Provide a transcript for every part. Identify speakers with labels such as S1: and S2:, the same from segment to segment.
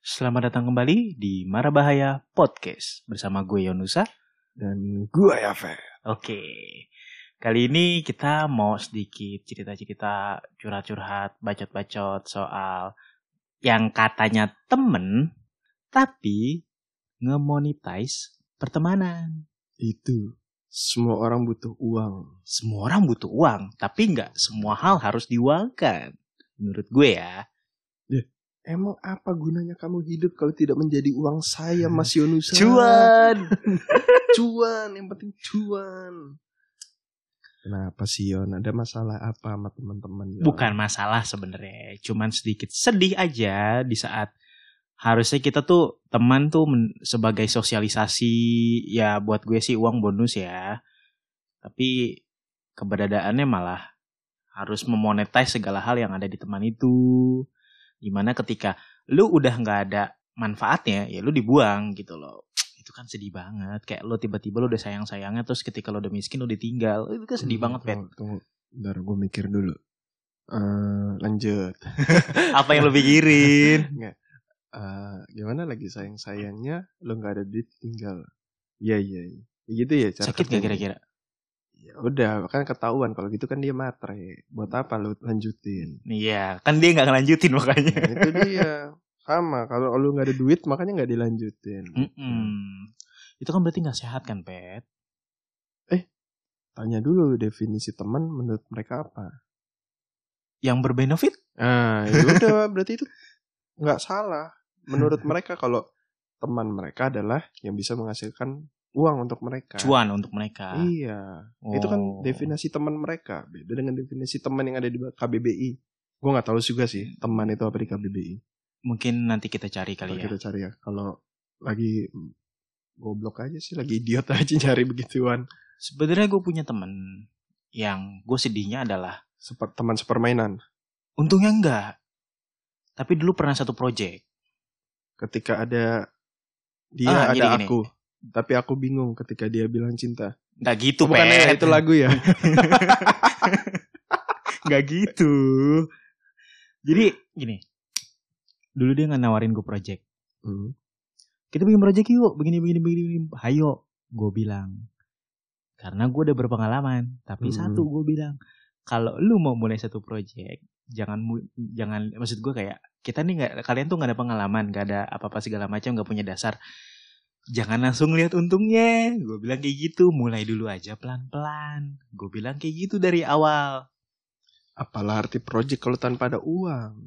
S1: Selamat datang kembali di Marabahaya Podcast bersama gue Yonusa.
S2: dan gua ya Fe
S1: Oke. Kali ini kita mau sedikit cerita-cerita curhat-curhat, bacot-bacot soal yang katanya temen tapi nge-monetize pertemanan.
S2: itu semua orang butuh uang
S1: Semua orang butuh uang, tapi nggak semua hal harus diuangkan. Menurut gue ya.
S2: emang apa gunanya kamu hidup kalau tidak menjadi uang saya Mas Yonusa cuan yang penting cuan kenapa sih Yon ada masalah apa sama teman-teman Yon?
S1: bukan masalah sebenarnya cuman sedikit sedih aja di saat harusnya kita tuh teman tuh men- sebagai sosialisasi ya buat gue sih uang bonus ya tapi keberadaannya malah harus memonetize segala hal yang ada di teman itu dimana ketika lu udah nggak ada manfaatnya ya lu dibuang gitu loh itu kan sedih banget kayak lu tiba-tiba lu udah sayang sayangnya terus ketika lu udah miskin lu ditinggal itu kan sedih banget pet
S2: Hmm, tunggu, tunggu. Bentar, gua mikir dulu Eh, lanjut
S1: apa yang lu pikirin
S2: Nggak. Eh, gimana lagi sayang sayangnya lo nggak ada duit tinggal iya iya iya. gitu ya cara
S1: sakit gak
S2: kerjanya.
S1: kira-kira
S2: Ya udah kan ketahuan kalau gitu kan dia matre buat apa lu lanjutin
S1: Iya, kan dia nggak ngelanjutin makanya.
S2: Nah, itu dia sama kalau lu nggak ada duit makanya nggak dilanjutin
S1: Hmm. Mm-mm. Itu kan berarti nggak sehat kan, Pet?
S2: tanya dulu definisi teman menurut mereka apa
S1: Yang berbenefit?
S2: ah ya
S1: iya.
S2: udah berarti itu nggak salah menurut mereka kalau teman mereka adalah yang bisa menghasilkan uang untuk mereka
S1: Cuan Oh. untuk mereka.
S2: iya itu kan definisi teman mereka beda dengan definisi teman yang ada di KBBI gue nggak tahu juga sih teman itu apa di KBBI
S1: Mungkin nanti kita cari
S2: Ntar
S1: kali ya.
S2: kita cari ya kalau lagi mm, goblok aja sih lagi idiot aja nyari begituan
S1: Sebenarnya gue punya temen yang gue sedihnya adalah
S2: Seper, teman sepermainan
S1: untungnya enggak. Tapi dulu pernah satu project.
S2: ketika ada dia
S1: Ah,
S2: ada
S1: gini, gini.
S2: aku tapi aku bingung ketika dia bilang cinta
S1: Nggak gitu,
S2: bukan
S1: Pet.
S2: ya, itu lagu ya
S1: Nggak gitu. Jadi gini. Dulu dia nggak nawarin gue project.
S2: Hmm.
S1: kita bikin project yuk begini begini begini, begini. hayo gue bilang karena gue udah berpengalaman tapi
S2: Hmm.
S1: satu gue bilang kalau lu mau mulai satu project jangan mu- jangan maksud gue kayak kita nih nggak kalian tuh nggak ada pengalaman nggak ada apa apa segala macam nggak punya dasar jangan langsung lihat untungnya gue bilang kayak gitu mulai dulu aja pelan pelan gue bilang kayak gitu dari awal
S2: apalah arti project kalau tanpa ada uang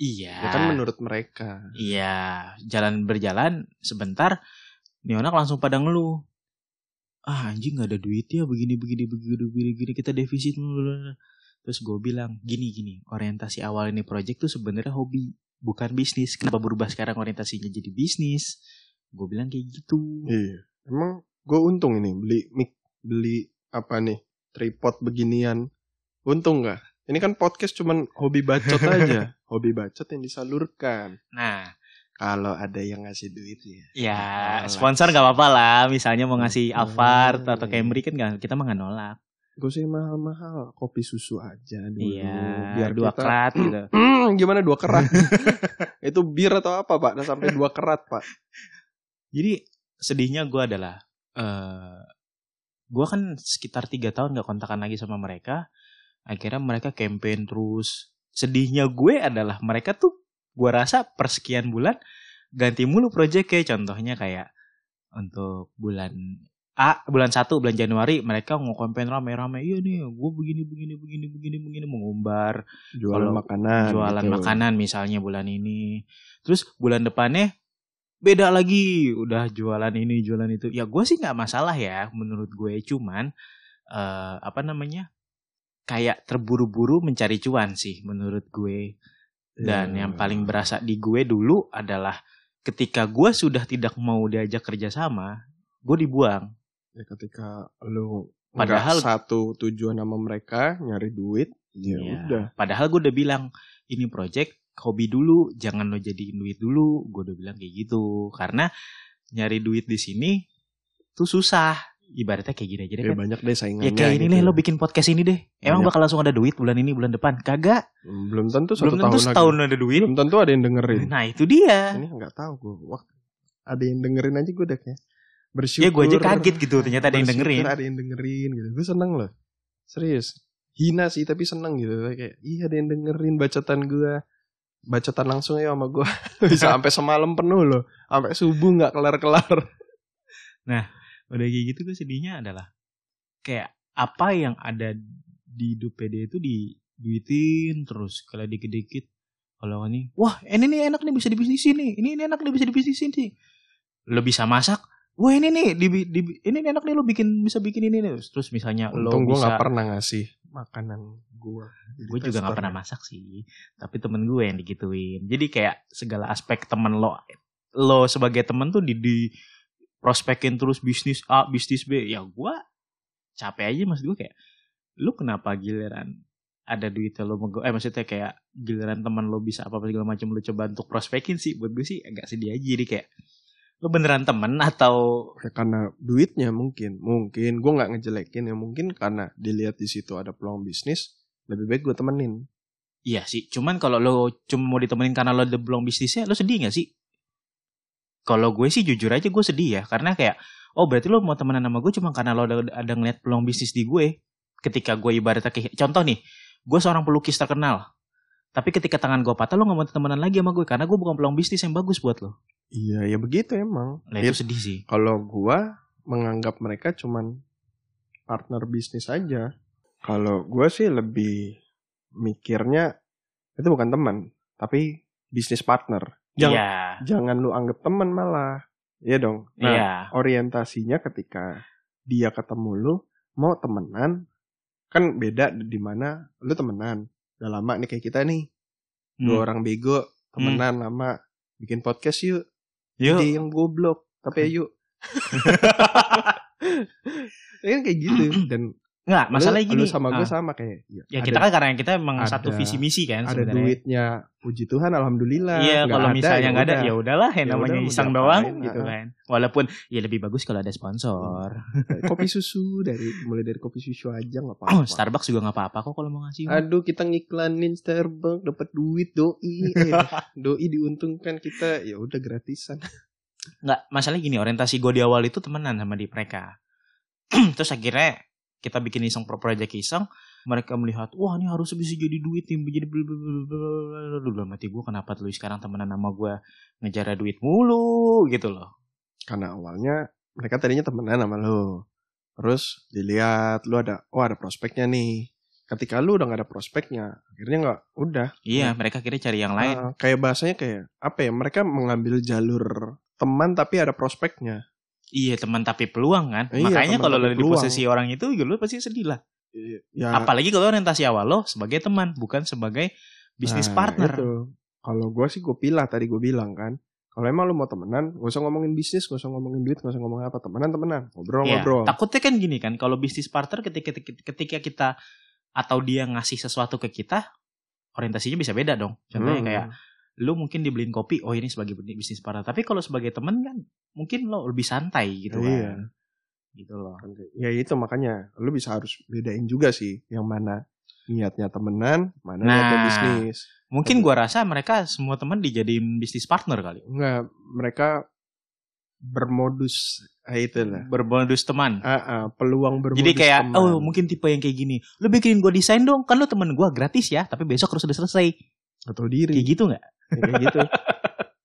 S1: iya
S2: ya kan menurut mereka
S1: Iya, jalan berjalan sebentar, Nionak langsung pada ngeluh. Ah anjing gak ada duit ya begini begini begini begini begini, kita defisit blablabla." terus gue bilang gini gini orientasi awal ini project tuh sebenarnya hobi bukan bisnis kenapa berubah sekarang orientasinya jadi bisnis gue bilang kayak gitu
S2: iya emang gue untung ini beli mic beli apa nih tripod beginian untung nggak ini kan podcast cuman hobi bacot aja hobi bacot yang disalurkan
S1: nah
S2: Kalau ada yang ngasih duit ya.
S1: ya
S2: Alah.
S1: sponsor gak apa-apa lah misalnya mau ngasih
S2: Hmm.
S1: Alphard atau Camry kan nggak- kita mah gak nolak
S2: Gue sih mahal-mahal kopi susu aja dulu.
S1: iya
S2: biar
S1: dua
S2: kita-
S1: krat gitu
S2: Hmm, gimana dua kerat? itu bir atau apa pak? Nah, sampai dua kerat pak.
S1: Jadi sedihnya gue adalah eh gue kan sekitar tiga tahun nggak kontakan lagi sama mereka. Akhirnya mereka campaign terus. Sedihnya gue adalah mereka tuh gue rasa persekian bulan ganti mulu project kayak contohnya kayak untuk bulan A bulan 1 bulan Januari mereka mau campaign rame-rame iya nih gue begini begini begini begini begini mengumbar Kalau
S2: Jualan makanan.
S1: jualan
S2: gitu.
S1: makanan misalnya bulan ini. Terus bulan depannya beda lagi, udah jualan ini, jualan itu. Ya gue sih nggak masalah ya, menurut gue cuman eh, apa namanya? Kayak terburu-buru mencari cuan sih menurut gue. Dan
S2: Iya.
S1: yang paling berasa di gue dulu adalah ketika gue sudah tidak mau diajak kerjasama, gue dibuang.
S2: Ya, ketika lu
S1: Padahal-
S2: padahal satu tujuan sama mereka nyari duit, ya
S1: Iya.
S2: udah.
S1: Padahal gue udah bilang ini project hobi dulu, jangan lo jadiin duit dulu. Gue udah bilang kayak gitu karena nyari duit di sini tuh susah. ibaratnya kayak gini aja deh
S2: Ya,
S1: kan.
S2: banyak deh saingannya.
S1: Ya kayak ini
S2: gitu. Iya.
S1: nih lo bikin podcast ini deh. Emang
S2: Banyak.
S1: bakal langsung ada duit bulan ini bulan depan. Kagak.
S2: Hmm, Belum tentu satu
S1: Belum tentu
S2: tahun
S1: setahun
S2: lagi.
S1: ada duit.
S2: Belum tentu ada yang dengerin.
S1: Nah itu dia.
S2: Ini nggak tahu gue. Wah, ada yang dengerin aja gue deh kayak. Bersyukur.
S1: Ya gue aja kaget gitu ternyata ada yang
S2: Bersyukur
S1: dengerin.
S2: Ada yang dengerin gitu. Gue seneng loh. Serius. Hina sih tapi seneng gitu kayak iya ada yang dengerin bacatan gue. Bacatan langsung ya sama gue. Bisa sampai semalam penuh loh. Sampai subuh nggak kelar-kelar.
S1: Udah kayak gitu gue sedihnya adalah kayak apa yang ada di DPD itu diduitin terus kalau dikit-dikit kalau ini wah ini nih enak nih bisa dibisnisin nih ini, ini enak nih bisa dibisnisin sih lo bisa masak wah ini nih dibi- dibi- ini nih enak nih lo bikin bisa bikin ini nih terus misalnya
S2: Untung
S1: lo
S2: gue
S1: bisa
S2: nggak pernah ngasih makanan gue.
S1: gue juga nggak pernah masak sih tapi temen gue yang digituin jadi kayak segala aspek temen lo lo sebagai temen tuh di, di prospekin terus bisnis A bisnis B ya gue capek aja maksud gue kayak lu kenapa giliran ada duit lo mau eh maksudnya kayak giliran teman lo bisa apa apa segala macam lo coba untuk prospekin sih buat gue sih agak sedih aja jadi kayak lo beneran temen atau
S2: Ya, karena duitnya mungkin mungkin gue nggak ngejelekin ya mungkin karena dilihat di situ ada peluang bisnis lebih baik gue temenin
S1: iya sih cuman kalau lo cuma mau ditemenin karena lo ada belum bisnisnya lo sedih gak sih kalau gue sih jujur aja gue sedih ya karena kayak oh berarti lo mau temenan sama gue cuma karena lo ada, ada ngeliat peluang bisnis di gue ketika gue ibaratnya ke contoh nih gue seorang pelukis terkenal tapi ketika tangan gue patah lo gak mau temenan lagi sama gue karena gue bukan peluang bisnis yang bagus buat lo
S2: iya ya begitu emang
S1: nah
S2: Ya,
S1: itu sedih sih
S2: kalau gue menganggap mereka cuman partner bisnis aja kalau gue sih lebih mikirnya itu bukan teman tapi bisnis partner jangan
S1: iya
S2: jangan lu anggap teman malah Iya dong nah
S1: iya
S2: orientasinya ketika dia ketemu lu mau temenan kan beda di mana lu temenan udah lama nih kayak kita nih
S1: Hmm.
S2: dua orang bego temenan lama bikin podcast yuk
S1: Yuk.
S2: jadi yang goblok tapi yuk Ya kan kayak gitu dan
S1: nggak masalahnya
S2: lu,
S1: gini
S2: lu sama
S1: Ah,
S2: gue sama kayak ya,
S1: ya
S2: ada,
S1: kita kan karena kita emang
S2: ada-
S1: satu visi misi kan
S2: ada
S1: sebenarnya.
S2: duitnya puji Tuhan alhamdulillah
S1: Iya
S2: Nggak
S1: kalau
S2: ada,
S1: misalnya
S2: ya
S1: nggak ada
S2: udah.
S1: ya udahlah yang
S2: Ya
S1: namanya
S2: udah, mau
S1: iseng
S2: diapain,
S1: doang
S2: ah.
S1: gitu kan. Walaupun ya lebih bagus kalau ada sponsor.
S2: kopi susu dari mulai dari kopi susu aja nggak
S1: Oh,
S2: apa-apa
S1: Starbucks juga nggak apa-apa kok kalau mau ngasih.
S2: Aduh kita ngiklanin Starbucks dapat duit doi eh, doi diuntungkan kita ya udah gratisan.
S1: Nggak masalah gini orientasi gue di awal itu temenan sama di mereka. Terus akhirnya kita bikin iseng pro project iseng mereka melihat wah ini harus bisa jadi duit nih jadi blablabla." Duh, dalam mati gue kenapa lu sekarang temenan sama gue ngejar duit mulu gitu loh
S2: Karena awalnya mereka tadinya temenan sama lo. Terus dilihat lu ada oh ada prospeknya nih. Ketika lu udah gak ada prospeknya, akhirnya nggak udah.
S1: iya mereka akhirnya cari yang lain
S2: Ah, kayak bahasanya kayak apa ya? Mereka mengambil jalur teman tapi ada prospeknya.
S1: iya teman tapi peluang kan
S2: Iya,
S1: makanya
S2: teman
S1: kalau
S2: tapi
S1: lo di
S2: peluang.
S1: posisi orang itu ya lo pasti sedih lah
S2: I- Ya,
S1: Apalagi kalau orientasi awal lo sebagai teman, bukan sebagai bisnis
S2: nah,
S1: partner.
S2: itu. Kalau gue sih gue pilah tadi gue bilang kan. Kalau emang lu mau temenan, gak usah ngomongin bisnis, gak usah ngomongin duit, gak usah ngomongin apa. Temenan, temenan.
S1: Ya,
S2: Ngobrol-ngobrol.
S1: Takutnya kan gini kan, kalau bisnis partner ketika ketika kita atau dia ngasih sesuatu ke kita, orientasinya bisa beda dong. Contohnya
S2: Hmm.
S1: kayak lu mungkin dibeliin kopi, oh ini sebagai bisnis partner. Tapi kalau sebagai teman kan mungkin lo lebih santai gitu
S2: Iya.
S1: kan. Gitu loh.
S2: ya itu makanya lu bisa harus bedain juga sih yang mana niatnya temenan mana
S1: Nah.
S2: niatnya bisnis
S1: Mungkin gua rasa mereka semua teman dijadiin bisnis partner kali.
S2: enggak mereka bermodus ah, itulah
S1: Berbonus teman.
S2: Ah, ah, peluang bermodus
S1: Jadi kayak
S2: teman.
S1: oh mungkin tipe yang kayak gini. Lu bikinin gua desain dong, kan lu temen gua gratis ya, tapi besok harus udah selesai.
S2: atau diri
S1: Kayak gitu nggak?
S2: Ya, kayak gitu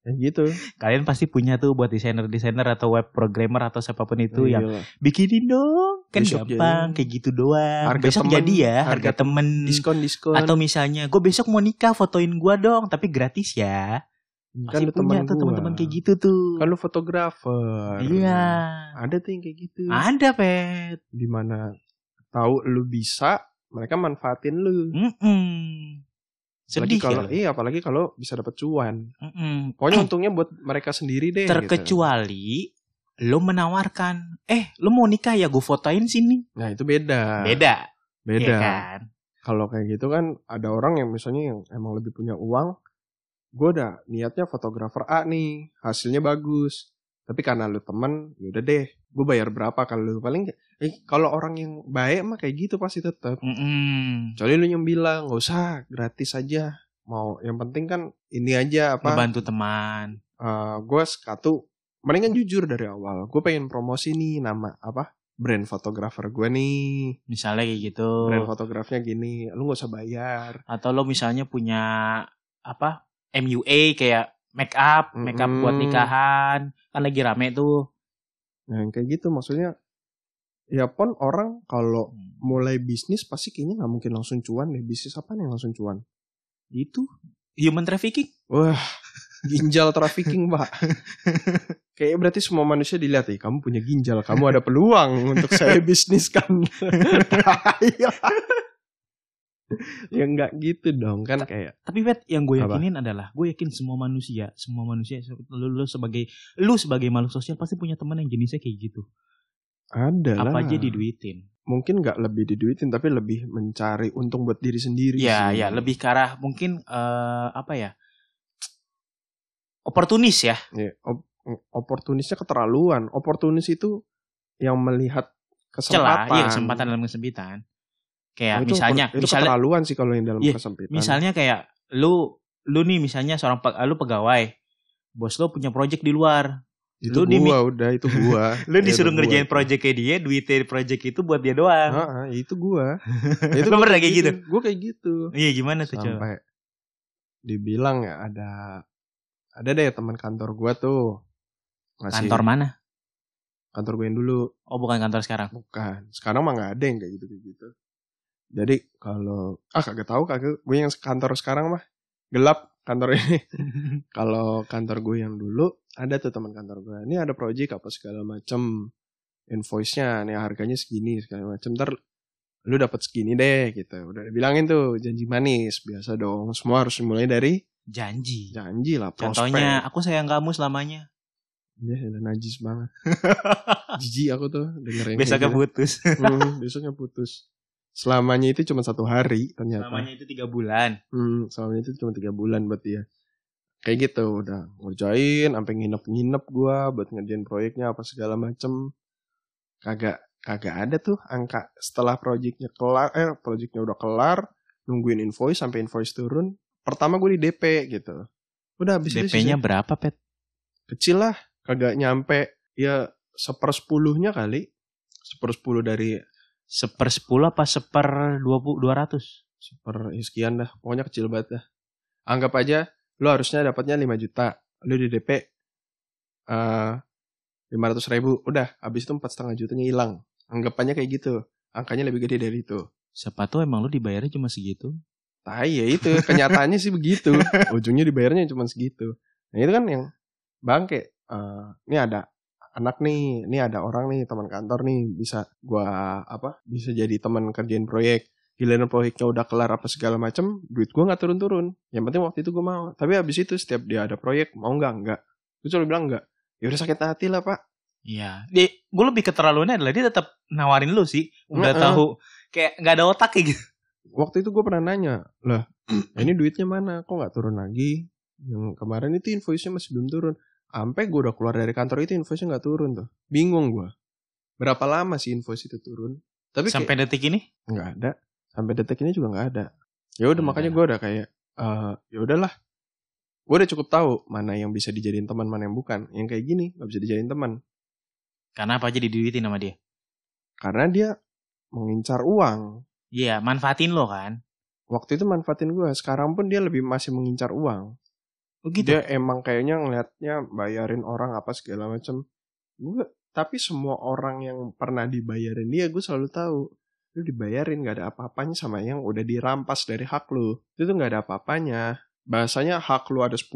S2: kayak gitu
S1: Kalian pasti punya tuh buat desainer-desainer atau web programmer atau siapapun itu ya. yang
S2: Iyalah.
S1: bikinin dong. Kan
S2: Iya. Besok
S1: gampang
S2: jadi.
S1: kayak gitu doang.
S2: Harga
S1: besok
S2: temen,
S1: jadi ya harga,
S2: harga
S1: temen.
S2: diskon diskon
S1: Atau misalnya gue besok mau nikah fotoin gua dong tapi gratis ya.
S2: kan
S1: Pasti
S2: lu
S1: punya
S2: teman
S1: tuh teman-teman kayak gitu tuh.
S2: kan lu fotografer
S1: Iya. Ah.
S2: ada tuh yang kayak gitu
S1: Ada pet.
S2: di mana tahu lu bisa mereka manfaatin lu
S1: Mm-mm. Sedih
S2: Apalagi kalau
S1: ya.
S2: iya apalagi kalau bisa dapet cuan
S1: Mm-mm.
S2: Pokoknya untungnya buat mereka sendiri deh. gitu.
S1: Terkecuali lo menawarkan, eh lo mau nikah ya gue fotoin sini.
S2: Nah itu beda.
S1: Beda,
S2: Beda.
S1: ya kan?
S2: Kalau kayak gitu kan ada orang yang misalnya yang emang lebih punya uang. Gue udah niatnya fotografer A nih. Hasilnya bagus. tapi karena lu temen yaudah deh gue bayar berapa kalau lu paling eh, kalau orang yang baik mah kayak gitu pasti tetap
S1: Mm-mm.
S2: kecuali lu yang bilang nggak usah gratis aja mau yang penting kan ini aja apa
S1: Ngebantu teman.
S2: eh, gue sekatu mendingan jujur dari awal gue pengen promosi nih nama apa brand fotografer gue nih
S1: Misalnya kayak gitu.
S2: brand fotografnya gini lu nggak usah bayar
S1: Atau lo misalnya punya apa? MUA kayak make up, make up buat
S2: Mm-mm.
S1: nikahan. Kan lagi rame tuh.
S2: nah yang kayak gitu maksudnya ya pun orang kalau mulai bisnis pasti kayaknya nggak mungkin langsung cuan deh bisnis apa nih yang langsung cuan
S1: Itu human trafficking.
S2: Wah, ginjal trafficking, Pak. Kayaknya berarti semua manusia dilihat ya, kamu punya ginjal, kamu ada peluang untuk saya bisniskan. Tahayal. ya nggak gitu dong kan kayak
S1: Tapi Bet, yang gue
S2: Apa?
S1: yakinin adalah gue yakin semua manusia, semua manusia lu, lu sebagai lu sebagai makhluk sosial pasti punya teman yang jenisnya kayak gitu.
S2: ada lah.
S1: Apa aja diduitin.
S2: Mungkin nggak lebih diduitin tapi lebih mencari untung buat diri sendiri.
S1: Ya,
S2: sih.
S1: ya, lebih ke arah mungkin eh, apa ya? Oportunis ya.
S2: Ya, op- oportunisnya keterlaluan. Oportunis itu yang melihat
S1: celah
S2: kesempatan.
S1: iya kesempatan Nah, dalam kesempitan
S2: Oh,
S1: kayak
S2: itu,
S1: misalnya
S2: itu
S1: misalnya
S2: keterlaluan sih kalau yang dalam
S1: Iya,
S2: kesempitan.
S1: misalnya kayak lu lu nih misalnya seorang pe- lu pegawai bos lu punya project di luar Iya,
S2: itu
S1: lu di-
S2: gua udah itu gua.
S1: lu
S2: Ya,
S1: disuruh
S2: itu gua.
S1: ngerjain projectnya dia duitnya project itu buat dia doang
S2: Heeh, itu gua.
S1: itu lu pernah kayak gitu
S2: Gua kayak gitu.
S1: iya gimana tuh coba
S2: Sampai dibilang ya ada ada deh teman kantor gua tuh. Ngasih-
S1: kantor mana
S2: kantor gua yang dulu.
S1: oh bukan kantor sekarang
S2: Bukan. Sekarang mah nggak ada yang kayak gitu kayak gitu. Jadi kalau ah kagak tahu kagak gue yang kantor sekarang mah gelap kantor ini. kalau kantor gue yang dulu ada tuh teman kantor gue. Ini ada project apa segala macem invoice-nya nih harganya segini segala macem ntar lu dapat segini deh gitu udah bilangin tuh janji manis biasa dong semua harus mulai dari
S1: janji
S2: janji lah prospek
S1: contohnya aku sayang kamu selamanya
S2: Iya, iya, najis banget jijik aku tuh dengerin gitu.
S1: besoknya putus
S2: Hmm, besoknya putus. Selamanya itu cuma satu hari ternyata.
S1: selamanya itu tiga bulan
S2: Hmm, selamanya itu cuma tiga bulan buat dia. Kayak gitu udah ngerjain, sampai nginep-nginep gua buat ngerjain proyeknya apa segala macem. Kagak kagak ada tuh angka setelah proyeknya kelar, eh proyeknya udah kelar, nungguin invoice sampai invoice turun. Pertama gue di DP gitu. Udah habis itu
S1: DP-nya berapa pet
S2: kecil lah kagak nyampe ya sepersepuluhnya kali sepersepuluh dari
S1: seper sepuluh apa seper dua puluh dua ratus
S2: per ya sekian dah pokoknya kecil banget dah anggap aja lu harusnya dapatnya 5 juta lu di DP lima ratus ribu udah habis itu empat setengah jutanya hilang anggapannya kayak gitu angkanya lebih gede dari itu
S1: siapa tuh emang lu dibayarnya cuma segitu
S2: tai ya itu kenyataannya sih begitu ujungnya dibayarnya cuma segitu nah itu kan yang bangke eh ini ada anak nih ini ada orang nih teman kantor nih bisa gua apa bisa jadi teman kerjain proyek giliran proyeknya udah kelar apa segala macem duit gua nggak turun-turun yang penting waktu itu gua mau tapi habis itu setiap dia ada proyek mau nggak nggak gue cuma bilang nggak ya udah sakit hati lah pak
S1: Iya, dia gue lebih keterlaluannya adalah dia tetap nawarin lu sih, udah
S2: Heeh.
S1: tahu kayak nggak ada otak kayak gitu.
S2: waktu itu gue pernah nanya lah ini duitnya mana kok nggak turun lagi yang kemarin itu invoice-nya masih belum turun sampai gue udah keluar dari kantor itu invoice-nya nggak turun tuh bingung gue berapa lama sih invoice itu turun tapi
S1: Sampai
S2: sampai
S1: detik ini
S2: nggak ada sampai detik ini juga nggak ada ya udah
S1: Hmm,
S2: makanya gue udah kayak eh ya udahlah gue udah cukup tahu mana yang bisa dijadiin teman mana yang bukan yang kayak gini nggak bisa dijadiin teman
S1: karena apa aja diduitin sama dia.
S2: karena dia mengincar uang
S1: Iya, manfaatin lo kan.
S2: waktu itu manfaatin gue sekarang pun dia lebih masih mengincar uang
S1: Oh gitu.
S2: dia emang kayaknya ngelihatnya bayarin orang apa segala macem gue tapi semua orang yang pernah dibayarin dia gue selalu tahu lu dibayarin gak ada apa-apanya sama yang udah dirampas dari hak lu itu tuh gak ada apa-apanya bahasanya hak lu ada 10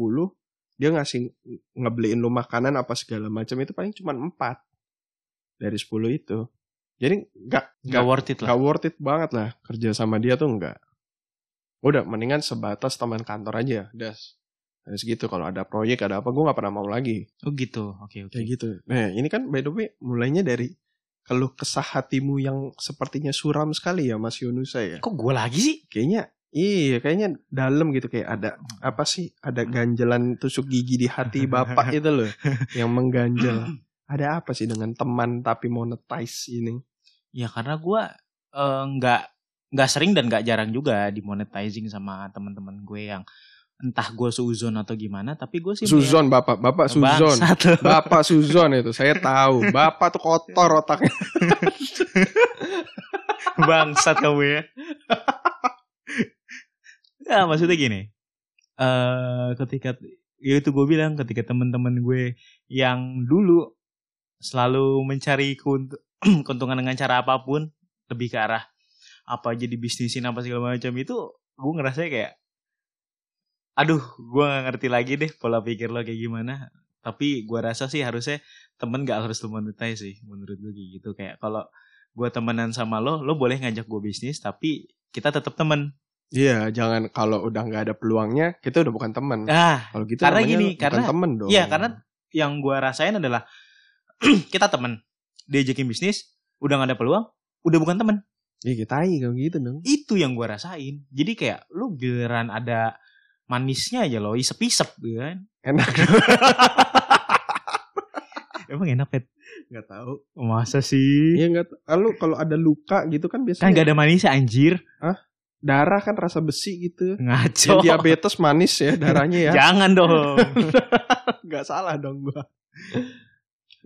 S2: dia ngasih ngebeliin lu makanan apa segala macam itu paling cuma 4 dari 10 itu jadi gak,
S1: nggak worth it lah.
S2: Gak worth it banget lah kerja sama dia tuh enggak. Udah mendingan sebatas teman kantor aja, das. Dari segitu kalau ada proyek ada apa gue nggak pernah mau lagi
S1: Oh gitu. Oke oke.
S2: kayak gitu. Nah ini kan by the way mulainya dari keluh kesah hatimu yang sepertinya suram sekali ya Mas Yunusa ya.
S1: Kok gue lagi sih?
S2: Kayaknya Iya, kayaknya dalam gitu kayak ada apa sih? Ada ganjalan tusuk gigi di hati bapak itu loh yang mengganjal. Ada apa sih dengan teman tapi monetize ini?
S1: Ya karena gue eh, nggak nggak sering dan nggak jarang juga dimonetizing sama teman-teman gue yang entah gue suzon atau gimana tapi gue sih melihat-
S2: Suzon bapak, bapak Suzon.
S1: Bangsat lu.
S2: Bapak Suzon itu saya tahu. Bapak tuh kotor otaknya.
S1: Bangsat kamu ya. ya maksudnya gini. eh ketika ya itu gue bilang ketika teman-teman gue yang dulu selalu mencari keunt- keuntungan dengan cara apapun lebih ke arah apa aja dibisnisin apa segala macam itu gue ngerasa kayak aduh gue gak ngerti lagi deh pola pikir lo kayak gimana tapi gue rasa sih harusnya temen gak harus lo monetize sih menurut gue kayak gitu kayak kalau gue temenan sama lo, lo boleh ngajak gue bisnis, tapi kita tetap temen.
S2: Iya, jangan kalau udah nggak ada peluangnya, kita udah bukan teman.
S1: Ah,
S2: Kalau gitu
S1: Karena
S2: namanya
S1: gini,
S2: bukan
S1: karena-
S2: temen dong.
S1: iya karena yang gue rasain adalah kita temen. Diajakin bisnis, udah gak ada peluang, udah bukan temen.
S2: Iya, kita tai kalau gitu dong.
S1: Itu yang gue rasain. Jadi kayak lo giliran ada manisnya aja lo, isep-isep gitu kan.
S2: Enak.
S1: Emang enak, Pet?
S2: Gak tahu.
S1: Masa sih?
S2: Iya nggak. tahu. Lalu kalau ada luka gitu kan biasanya
S1: Kan gak ada manisnya, anjir.
S2: darah kan rasa besi gitu. Yang
S1: Ngaco.
S2: diabetes manis ya darahnya ya.
S1: Jangan dong.
S2: nggak salah dong gua.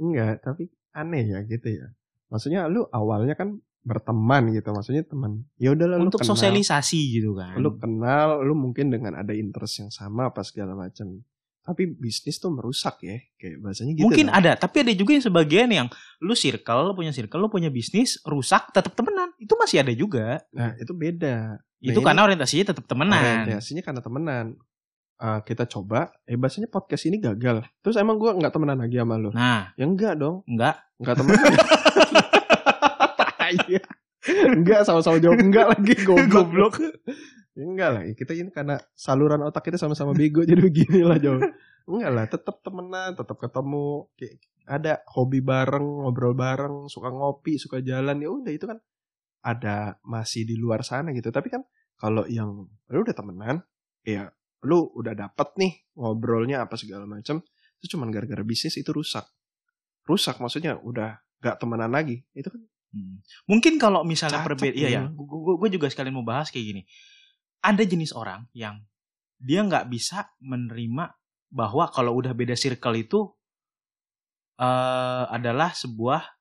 S2: Enggak, tapi aneh ya gitu ya. Maksudnya lu awalnya kan berteman gitu, maksudnya teman. Ya udah lu
S1: Untuk
S2: kenal,
S1: sosialisasi gitu kan.
S2: lu kenal, lu mungkin dengan ada interest yang sama apa segala macam. Tapi bisnis tuh merusak ya, kayak bahasanya gitu.
S1: Mungkin
S2: dong.
S1: ada, tapi ada juga yang sebagian yang lu circle, lu punya circle, lu punya bisnis, rusak, tetap temenan. Itu masih ada juga.
S2: Nah, itu beda.
S1: itu
S2: Nah, ini-
S1: karena orientasinya tetap temenan.
S2: Orientasinya karena temenan. Ah, kita coba, eh bahasanya podcast ini gagal. Terus emang gua nggak temenan lagi sama lu?
S1: Nah,
S2: Ya enggak dong,
S1: enggak.
S2: nggak temenan. Iya. enggak sama-sama jawab enggak lagi goblok.
S1: Goblok.
S2: Ya enggak lah, ya kita ini karena saluran otak kita sama-sama bego jadi begini lah jauh. Enggak lah, tetap temenan, tetap ketemu, kayak ada hobi bareng, ngobrol bareng, suka ngopi, suka jalan, ya udah itu kan ada masih di luar sana gitu. Tapi kan kalau yang lu udah temenan, ya lu udah dapet nih ngobrolnya apa segala macam, itu cuman gara-gara bisnis itu rusak. Rusak maksudnya udah gak temenan lagi. Itu kan
S1: Hmm. Mungkin kalau misalnya
S2: Cacat
S1: perbedaan, iya ya,
S2: ya.
S1: gue juga sekalian mau bahas kayak gini. Ada jenis orang yang dia nggak bisa menerima bahwa kalau udah beda circle itu eh adalah sebuah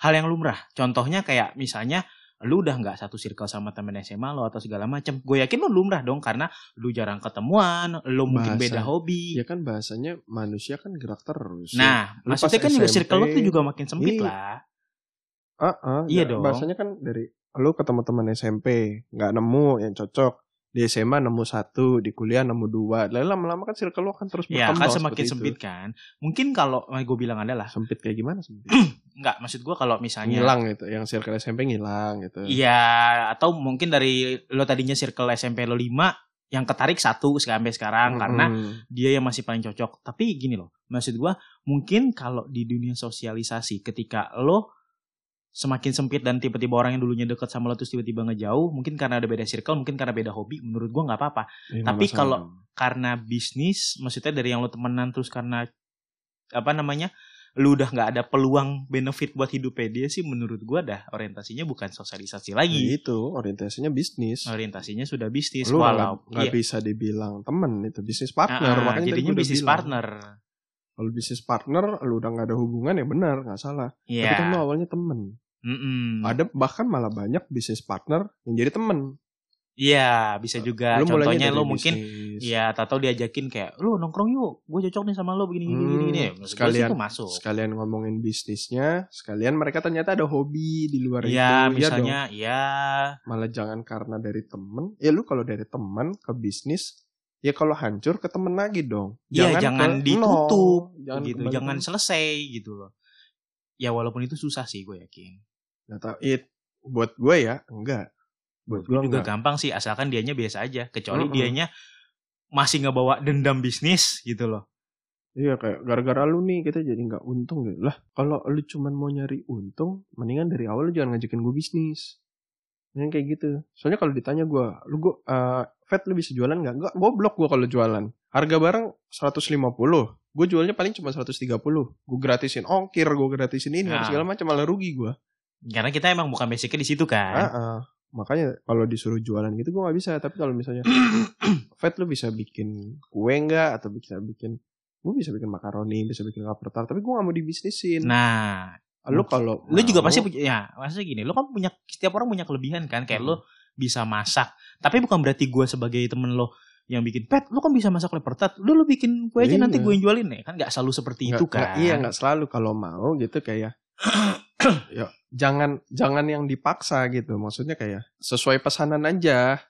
S1: hal yang lumrah. Contohnya kayak misalnya lu udah nggak satu circle sama temen SMA lo atau segala macam. Gue yakin lu lumrah dong karena lu jarang ketemuan, lu mungkin
S2: Bahasa.
S1: beda hobi.
S2: ya kan bahasanya manusia kan gerak terus. ya.
S1: Nah,
S2: Lu pas
S1: maksudnya kan juga
S2: SMP,
S1: circle lu tuh juga makin sempit
S2: iya.
S1: lah.
S2: Ah, ah,
S1: Iya
S2: ya,
S1: dong.
S2: Bahasanya kan dari lu ketemu teman SMP, nggak nemu yang cocok. Di SMA nemu satu, di kuliah nemu dua. Lalu lama-lama kan circle lu akan terus
S1: Ya
S2: berkembang.
S1: kan
S2: seperti
S1: semakin
S2: itu.
S1: sempit kan. Mungkin kalau gue bilang adalah
S2: Sempit kayak gimana sempit?
S1: Enggak, maksud gua kalau misalnya
S2: Ngilang gitu, yang circle SMP ngilang gitu.
S1: Iya, atau mungkin dari lo tadinya circle SMP lo 5 yang ketarik satu sampai sekarang kan, karena
S2: Mm-mm.
S1: dia yang masih paling cocok. Tapi gini loh, maksud gua mungkin kalau di dunia sosialisasi ketika lo semakin sempit dan tiba-tiba orang yang dulunya dekat sama lo terus tiba-tiba ngejauh, mungkin karena ada beda circle, mungkin karena beda hobi, menurut gua nggak apa-apa.
S2: Ini
S1: Tapi
S2: masalah Nah,
S1: kalau-
S2: dong.
S1: Karena bisnis, maksudnya dari yang lo temenan terus karena apa namanya? lu udah nggak ada peluang benefit buat hidupnya dia sih menurut gua dah orientasinya bukan sosialisasi lagi
S2: Ya itu orientasinya bisnis.
S1: orientasinya sudah bisnis
S2: Lu nggak
S1: walau
S2: nggak
S1: Iya.
S2: bisa dibilang temen itu bisnis
S1: Ah,
S2: partner.
S1: ah,
S2: Makanya tadi
S1: jadinya
S2: gua udah
S1: bisnis
S2: bilang,
S1: partner
S2: Kalau bisnis partner, lu udah nggak ada hubungan ya benar, nggak salah. Tapi kan lu
S1: Iya.
S2: awalnya temen.
S1: Mm-mm.
S2: Ada bahkan malah banyak bisnis partner yang jadi temen.
S1: iya bisa juga
S2: Lu mulainya
S1: contohnya
S2: dari
S1: lu mungkin
S2: bisnis.
S1: Iya, atau diajakin kayak lu nongkrong yuk, gue cocok nih sama lu begini gini
S2: Hmm,
S1: gini gini. Maksud gua sih
S2: sekalian-
S1: itu masuk.
S2: Sekalian ngomongin bisnisnya, sekalian mereka ternyata ada hobi di luar
S1: Iya,
S2: itu. Iya
S1: misalnya ya
S2: dong. malah jangan karena dari temen. Ya lu kalau dari temen ke bisnis, ya kalau hancur ke temen lagi dong.
S1: Iya, jangan
S2: ke
S1: ditutup,
S2: nol. Jangan
S1: gitu,
S2: kembali
S1: jangan
S2: ke-
S1: selesai gitu loh. Ya walaupun itu susah sih gue yakin.
S2: Nggak tahu, it Nah, buat gue ya enggak. Buat gue
S1: Juga
S2: Oh, enggak.
S1: gampang sih asalkan dianya biasa aja, kecuali
S2: Mm-mm.
S1: dianya masih ngebawa dendam bisnis gitu loh.
S2: Iya kayak gara-gara lu nih kita jadi nggak untung gitu. Lah kalau lu cuman mau nyari untung, mendingan dari awal lu jangan ngajakin gue bisnis. yang kayak gitu soalnya kalau ditanya gue lu gue Fat lu bisa jualan nggak nggak goblok gue kalau jualan harga barang 150 gue jualnya paling cuma 130 gue gratisin ongkir gue gratisin ini
S1: Nah.
S2: segala macam malah rugi gue
S1: Karena kita emang bukan basicnya di situ
S2: Ah,
S1: kan.
S2: makanya kalau disuruh jualan gitu gue nggak bisa tapi kalau misalnya Fat lu bisa bikin kue nggak atau bisa bikin gue bisa bikin makaroni bisa bikin cover tart tapi gue nggak mau dibisnisin
S1: Nah,
S2: lu kalau
S1: lu juga
S2: mau-
S1: pasti punya ya maksudnya gini lu kan punya setiap orang punya kelebihan kan kayak lu
S2: Hmm.
S1: bisa masak tapi bukan berarti gue sebagai temen lo yang bikin pet lu kan bisa masak leper tat lu lu bikin kue aja
S2: Iya.
S1: nanti gue yang jualin ya kan nggak selalu seperti itu
S2: Nggak-
S1: kan
S2: nggak- iya nggak selalu kalau mau gitu kayak ya jangan jangan yang dipaksa gitu maksudnya kayak sesuai pesanan aja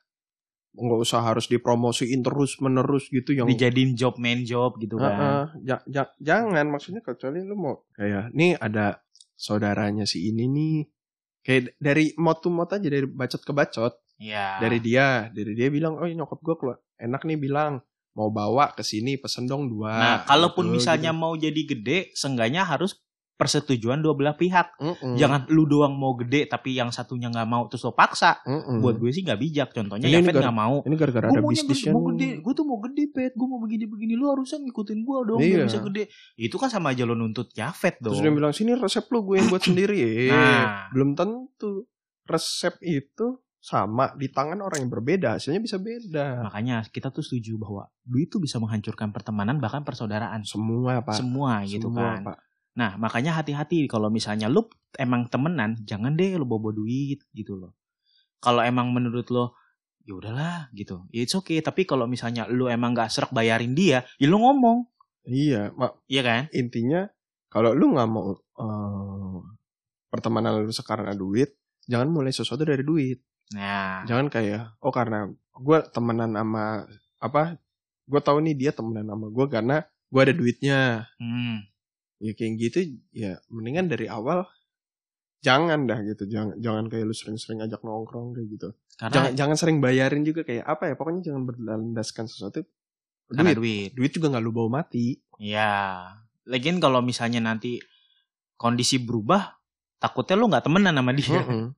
S2: nggak usah harus dipromosiin terus menerus gitu yang
S1: dijadiin job main job gitu kan
S2: Heeh, ja- ja- jangan maksudnya kecuali lu mau kayak nih ada saudaranya si ini nih kayak d- dari mot to mot aja dari bacot ke bacot
S1: ya
S2: dari dia dari dia bilang oh nyokap gue keluar enak nih bilang mau bawa ke sini pesen dong dua
S1: nah kalaupun
S2: Gitu,
S1: misalnya
S2: gitu.
S1: mau jadi gede seenggaknya harus persetujuan dua belah pihak
S2: Mm-mm.
S1: jangan lu doang mau gede tapi yang satunya nggak mau terus lo paksa
S2: Mm-mm.
S1: buat gue sih nggak bijak contohnya
S2: Hmm. Ini-
S1: ya
S2: ini
S1: Pet
S2: gar-
S1: nggak mau
S2: ini gara-gara
S1: gue
S2: ada
S1: maunya gede,
S2: bisnisnya
S1: mau
S2: nih.
S1: gede, gue tuh mau gede pet, gue mau begini-begini, lu harusnya ngikutin gue dong, biar
S2: Iya.
S1: bisa gede. Itu kan sama aja lo nuntut Jafet dong.
S2: Terus dia bilang sini resep lu gue yang buat sendiri. Eh,
S1: Nah.
S2: Belum tentu resep itu sama di tangan orang yang berbeda hasilnya bisa beda.
S1: Makanya kita tuh setuju bahwa duit tuh bisa menghancurkan pertemanan bahkan persaudaraan
S2: Semua pak.
S1: semua gitu
S2: Semua,
S1: kan.
S2: Pak.
S1: Nah makanya hati-hati kalau misalnya lu emang temenan, jangan deh lu bawa duit gitu loh. Kalau emang menurut lo ya udahlah gitu, it's okay. Tapi kalau misalnya lu emang gak serak bayarin dia, ya lu ngomong,
S2: Iya. Mak,
S1: iya kan?
S2: intinya kalau lu nggak mau eh, pertemanan lu sekarang ada duit, jangan mulai sesuatu dari duit.
S1: Nah,
S2: Jangan kayak oh karena gue temenan sama apa? Gue tahu nih dia temenan sama gue karena gue ada duitnya.
S1: hmm.
S2: ya kayak gitu ya mendingan dari awal jangan dah gitu jangan jangan kayak lu sering-sering ajak nongkrong kayak gitu
S1: karena
S2: jangan jangan sering bayarin juga kayak apa ya pokoknya jangan berlandaskan sesuatu
S1: karena
S2: duit
S1: duit.
S2: duit juga nggak lu bawa mati
S1: Ya, lagian kalau misalnya nanti kondisi berubah, takutnya lu nggak temenan sama dia.
S2: Mm-mm.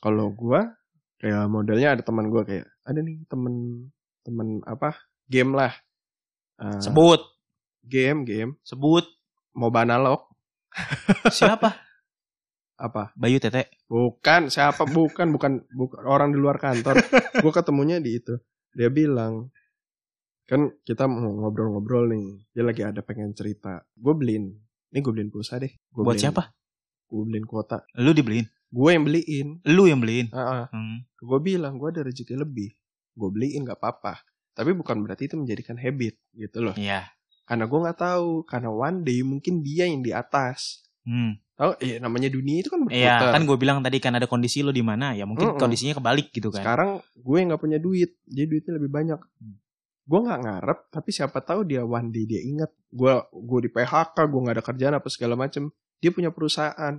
S2: kalau gua kayak modelnya ada teman gua kayak ada nih temen temen apa game lah Eh,
S1: Sebut,
S2: game game
S1: sebut
S2: mau banalog
S1: siapa?
S2: apa
S1: Bayu Tete.
S2: bukan siapa bukan bukan bukan orang di luar kantor gue ketemunya di itu dia bilang kan kita mau ngobrol-ngobrol nih dia lagi ada pengen cerita gue beliin ini gue beliin pulsa deh Gua
S1: Buat
S2: beliin-
S1: siapa?
S2: gue beliin kuota
S1: Lu dibeliin.
S2: gue yang beliin
S1: Lu yang beliin.
S2: Heeh.
S1: Hmm.
S2: gue bilang gue ada rezeki lebih gue beliin nggak apa-apa tapi bukan berarti itu menjadikan habit gitu loh
S1: Iya.
S2: karena gue nggak tahu karena one day mungkin dia yang di atas
S1: Hmm.
S2: tahu eh namanya dunia itu kan berputar
S1: Iya, kan gue bilang tadi kan ada kondisi lu di mana, ya mungkin
S2: Mm-mm.
S1: kondisinya kebalik gitu kan.
S2: Sekarang gue nggak punya duit, jadi duitnya lebih banyak. Gue nggak ngarep, tapi siapa tahu dia one day dia ingat gue gue di PHK, gue nggak ada kerjaan apa segala macem. Dia punya perusahaan,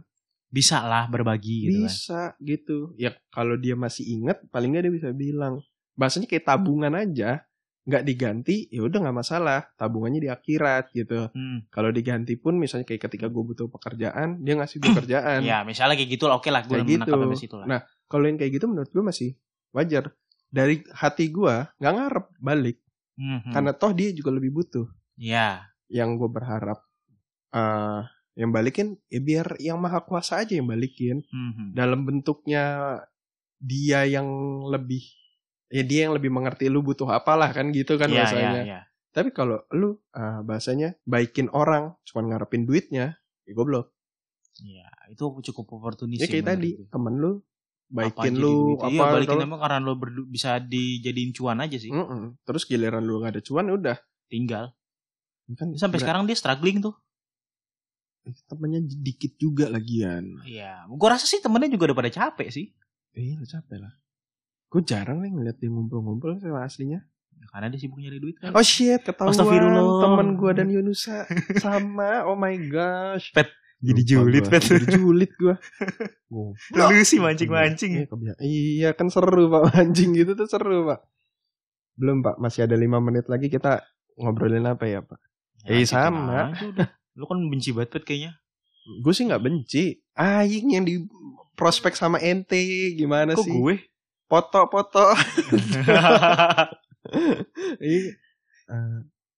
S1: Bisa lah berbagi gitu kan.
S2: bisa gitu. Ya kalau dia masih ingat, paling nggak dia bisa bilang. Bahasanya kayak tabungan aja, nggak diganti, ya udah nggak masalah. Tabungannya di akhirat gitu.
S1: Hmm.
S2: Kalau diganti pun, misalnya kayak ketika gue butuh pekerjaan, dia ngasih gue kerjaan.
S1: Ya, misalnya kayak gitu lah, oke lah gue
S2: Kayak
S1: menangkap
S2: gitu.
S1: dari situ lah.
S2: Nah, Kalau yang kayak gitu menurut gue masih wajar. Dari hati gue nggak ngarep balik.
S1: Mhm.
S2: karena toh dia juga lebih butuh
S1: Iya.
S2: yang gue berharap eh yang balikin ya biar yang maha kuasa aja yang balikin
S1: Mhm.
S2: dalam bentuknya dia yang lebih ya dia yang lebih mengerti lu butuh apalah kan gitu kan
S1: Iya, iya,
S2: bahasanya
S1: iya.
S2: tapi kalau lu eh, bahasanya baikin orang cuman ngarepin duitnya ya goblok
S1: Iya, itu cukup oportunis.
S2: ya
S1: sih
S2: kayak
S1: menurut
S2: tadi
S1: gue.
S2: temen lu baikin
S1: Apaan
S2: lu
S1: jadi duit?
S2: apa
S1: iya, balikin
S2: kalau-
S1: emang karena lo berdu- bisa dijadiin cuan aja sih
S2: Mm-mm. terus giliran lu gak ada cuan ya udah
S1: tinggal
S2: kan
S1: sampai
S2: berat.
S1: sekarang dia struggling tuh
S2: temennya dikit juga lagian
S1: iya gua rasa sih temennya juga udah pada capek sih
S2: Iya capek lah. Gue jarang nih ngeliat dia ngumpul-ngumpul sama aslinya.
S1: Ya, karena dia sibuk nyari duit kan
S2: Oh shit, ketahuan
S1: Astagfirullah.
S2: teman gue dan Yunusa sama. Oh my gosh.
S1: Pet, jadi
S2: Lupa
S1: julid,
S2: gua,
S1: Pet.
S2: Jadi julid gue.
S1: lu sih
S2: Iya, kebia- Iya kan seru pak mancing gitu tuh seru pak. Belum pak, masih ada lima menit lagi kita ngobrolin apa ya pak?
S1: Iya.
S2: Eh, sama.
S1: lu kan benci banget Pet, kayaknya
S2: Gue sih nggak benci. Aing yang di prospek sama ente gimana
S1: Kok
S2: sih?
S1: gue?
S2: Foto-foto. Iya. Eh,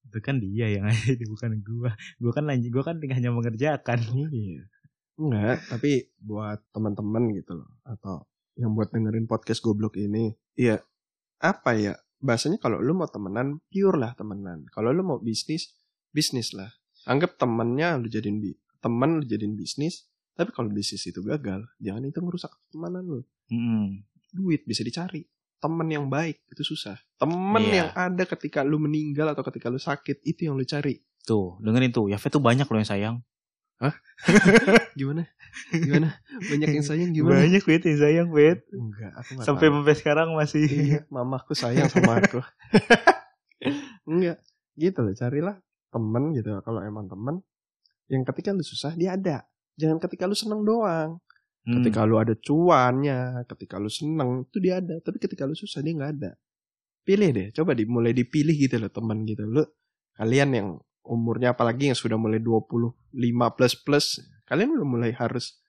S1: itu kan dia yang itu bukan gue. Gue kan lanjut, gue kan hanya mengerjakan.
S2: iya. Enggak, tapi buat teman-teman gitu loh atau yang buat dengerin podcast goblok ini. Iya. Apa ya? Bahasanya kalau lu mau temenan, pure lah temenan. Kalau lu mau bisnis, bisnis lah. Anggap temennya lu jadiin bi temen lu jadiin bisnis. Tapi kalau bisnis itu gagal, jangan itu ngerusak pertemanan lu.
S1: Mm-mm.
S2: duit bisa dicari temen yang baik itu susah temen
S1: Iya.
S2: yang ada ketika lu meninggal atau ketika lu sakit itu yang lu cari
S1: Tuh, dengerin tuh. Yafet tuh banyak loh yang sayang.
S2: gimana gimana banyak yang sayang gimana
S1: Banyak Fit yang sayang Fit.
S2: enggak aku nggak
S1: Sampai
S2: tahu.
S1: sampai sekarang masih.
S2: iya, mamaku sayang sama aku enggak gitu loh carilah temen gitu kalau emang temen yang ketika lu susah dia ada jangan ketika lu seneng doang
S1: Hmm.
S2: ketika lu ada cuannya ketika lu seneng itu dia ada tapi ketika lu susah dia nggak ada pilih deh coba dimulai dipilih gitu loh temen gitu lu kalian yang umurnya apalagi yang sudah mulai 25 plus plus kalian udah mulai harus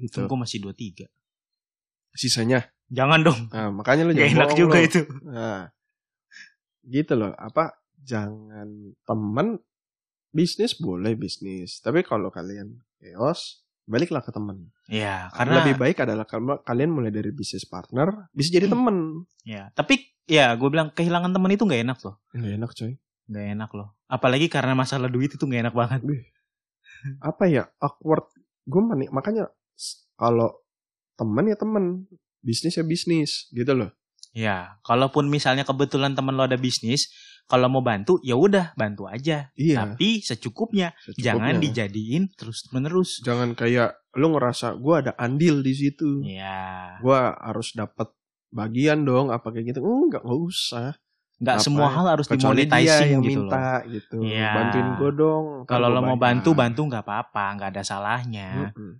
S1: Kan
S2: gitu
S1: gue masih 23.
S2: sisanya
S1: Jangan dong.
S2: nah, makanya lu
S1: Gak
S2: jangan
S1: enak
S2: bohong
S1: juga ya
S2: lu.
S1: itu.
S2: Nah, gitu loh. Apa jangan temen bisnis boleh bisnis, tapi kalau kalian chaos baliklah ke temen.
S1: Ya, karena
S2: lebih baik adalah kal- kalian mulai dari bisnis partner bisa jadi temen.
S1: ya, tapi ya gue bilang kehilangan teman itu nggak enak loh.
S2: Nggak enak coy.
S1: Nggak enak loh. Apalagi karena masalah duit itu nggak enak banget.
S2: Apa ya awkward? Gue mani- makanya s- kalau temen ya temen, bisnis ya bisnis gitu loh.
S1: Ya, kalaupun misalnya kebetulan teman lo ada bisnis, kalau mau bantu ya udah bantu aja.
S2: Iya.
S1: Tapi secukupnya,
S2: secukupnya.
S1: jangan dijadiin terus menerus.
S2: jangan kayak lu ngerasa gue ada andil di situ.
S1: Ya,
S2: Gue harus dapat bagian dong apa kayak gitu. Enggak, nggak usah.
S1: nggak
S2: Apa
S1: semua
S2: ya?
S1: hal harus
S2: kecuali dia
S1: dimonetizing
S2: yang
S1: gitu loh.
S2: minta gitu
S1: Iya.
S2: bantuin gue dong ntar
S1: Kalau
S2: gua
S1: lo mau
S2: bayar.
S1: bantu, bantu nggak apa-apa, nggak ada salahnya.
S2: Mm-mm.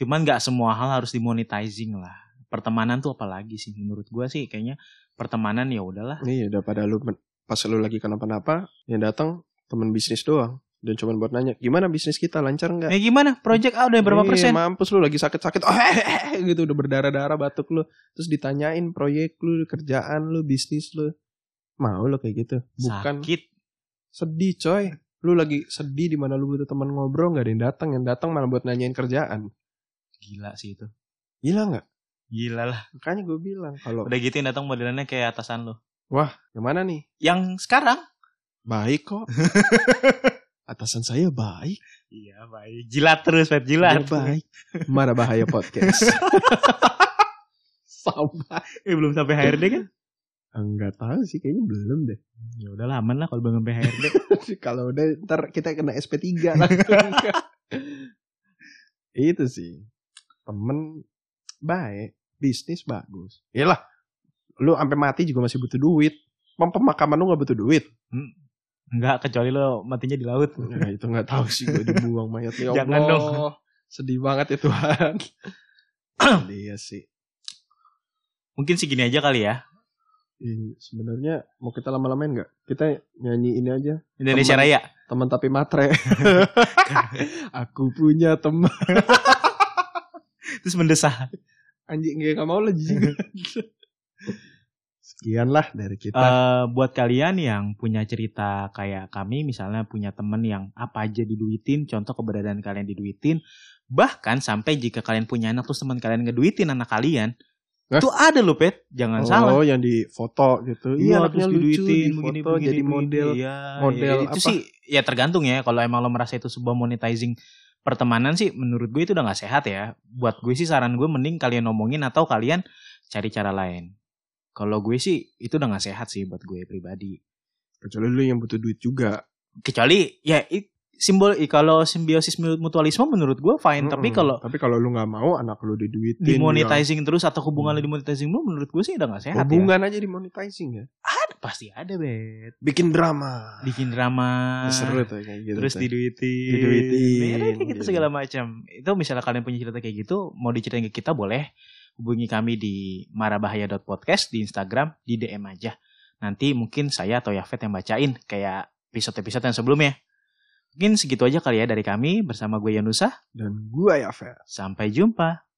S1: Cuman nggak semua hal harus dimonetizing lah. Pertemanan tuh apalagi sih menurut gua sih kayaknya pertemanan ya udahlah.
S2: iya daripada lu men- pas lu lagi kenapa-napa yang datang temen bisnis doang dan cuman buat nanya gimana bisnis kita lancar nggak
S1: Eh gimana? Project A udah berapa
S2: Iya,
S1: persen?
S2: mampus lu lagi sakit-sakit gitu udah berdarah-darah batuk lu terus ditanyain proyek lu kerjaan lu bisnis lu mau lo kayak gitu bukan
S1: Sakit.
S2: sedih coy lu lagi sedih di mana lu butuh teman ngobrol nggak ada yang datang yang datang malah buat nanyain kerjaan
S1: Gila sih itu.
S2: gila nggak
S1: Gila lah.
S2: makanya gue bilang kalau
S1: Udah gitu yang datang modelannya kayak atasan lo.
S2: yang mana nih
S1: Yang sekarang?
S2: Baik kok. Atasan saya baik.
S1: Iya baik. Jilat terus, Feb.
S2: Dia
S1: Jilat.
S2: Iya, baik. Marah bahaya podcast. Sampah.
S1: Eh belum sampai HRD kan?
S2: Enggak tahu sih kayaknya belum deh.
S1: Ya udah aman lah kalau belum sampai HRD.
S2: Kalau udah ntar kita kena SP3 langsung. Itu sih. Temen baik, bisnis bagus. Iyalah. Lu sampai mati juga masih butuh duit. Pem- Pemakaman lu gak butuh duit.
S1: Enggak, kecuali lo matinya di laut.
S2: Nah, itu nggak tahu sih gue dibuang mayat ya
S1: Jangan
S2: Allah.
S1: dong.
S2: Sedih banget ya Tuhan. Iya sih.
S1: Mungkin segini aja kali ya.
S2: Ih, Iya, Sebenarnya mau kita lama-lamain nggak? Kita nyanyi ini aja.
S1: Indonesia
S2: Teman.
S1: Raya.
S2: Teman tapi matre. Aku punya teman.
S1: Terus mendesah.
S2: Anjing gak nggak mau lah jijik. Sekianlah dari kita.
S1: Eh, buat kalian yang punya cerita kayak kami misalnya punya temen yang apa aja diduitin contoh keberadaan kalian diduitin bahkan sampai jika kalian punya anak terus teman kalian ngeduitin anak kalian
S2: Hah?
S1: itu ada loh pet jangan
S2: oh,
S1: salah
S2: yang di foto gitu. Iya, anaknya lucu di
S1: begini,
S2: foto
S1: begini,
S2: jadi
S1: begini.
S2: model.
S1: Iya,
S2: model
S1: iya, itu
S2: apa?
S1: sih ya tergantung ya kalau emang lo merasa itu sebuah monetizing pertemanan sih menurut gue itu udah nggak sehat ya buat gue sih saran gue mending kalian ngomongin atau kalian cari cara lain kalau gue sih itu udah nggak sehat sih buat gue pribadi
S2: Kecuali lu yang butuh duit juga.
S1: kecuali ya i- simbol i- kalau simbiosis mu- mutualisme menurut gue fine tapi
S2: Mm-mm. ya.
S1: kalau
S2: tapi kalau lu nggak mau anak lu diduitin.
S1: dimonetizing terus atau hubungan lo dimonetizing mulu menurut gue sih udah nggak
S2: ya.
S1: sehat ya.
S2: Mm. Hubungan aja dimonetizing ya.
S1: ada pasti ada bet
S2: Bikin drama.
S1: bikin drama
S2: seru tuh kayak gitu.
S1: Ah, terus
S2: tuh.
S1: diduitin
S2: Diduitin,
S1: Ya, kayak gitu
S2: gitu.
S1: segala macam itu misalnya kalian punya cerita kayak gitu mau diceritain ke kita boleh hubungi kami di marabahaya.podcast di Instagram di DM aja nanti mungkin saya atau Yafet yang bacain kayak episode-episode yang sebelumnya mungkin segitu aja kali ya dari kami bersama gue Yanusa
S2: dan gua ya Fer.
S1: sampai jumpa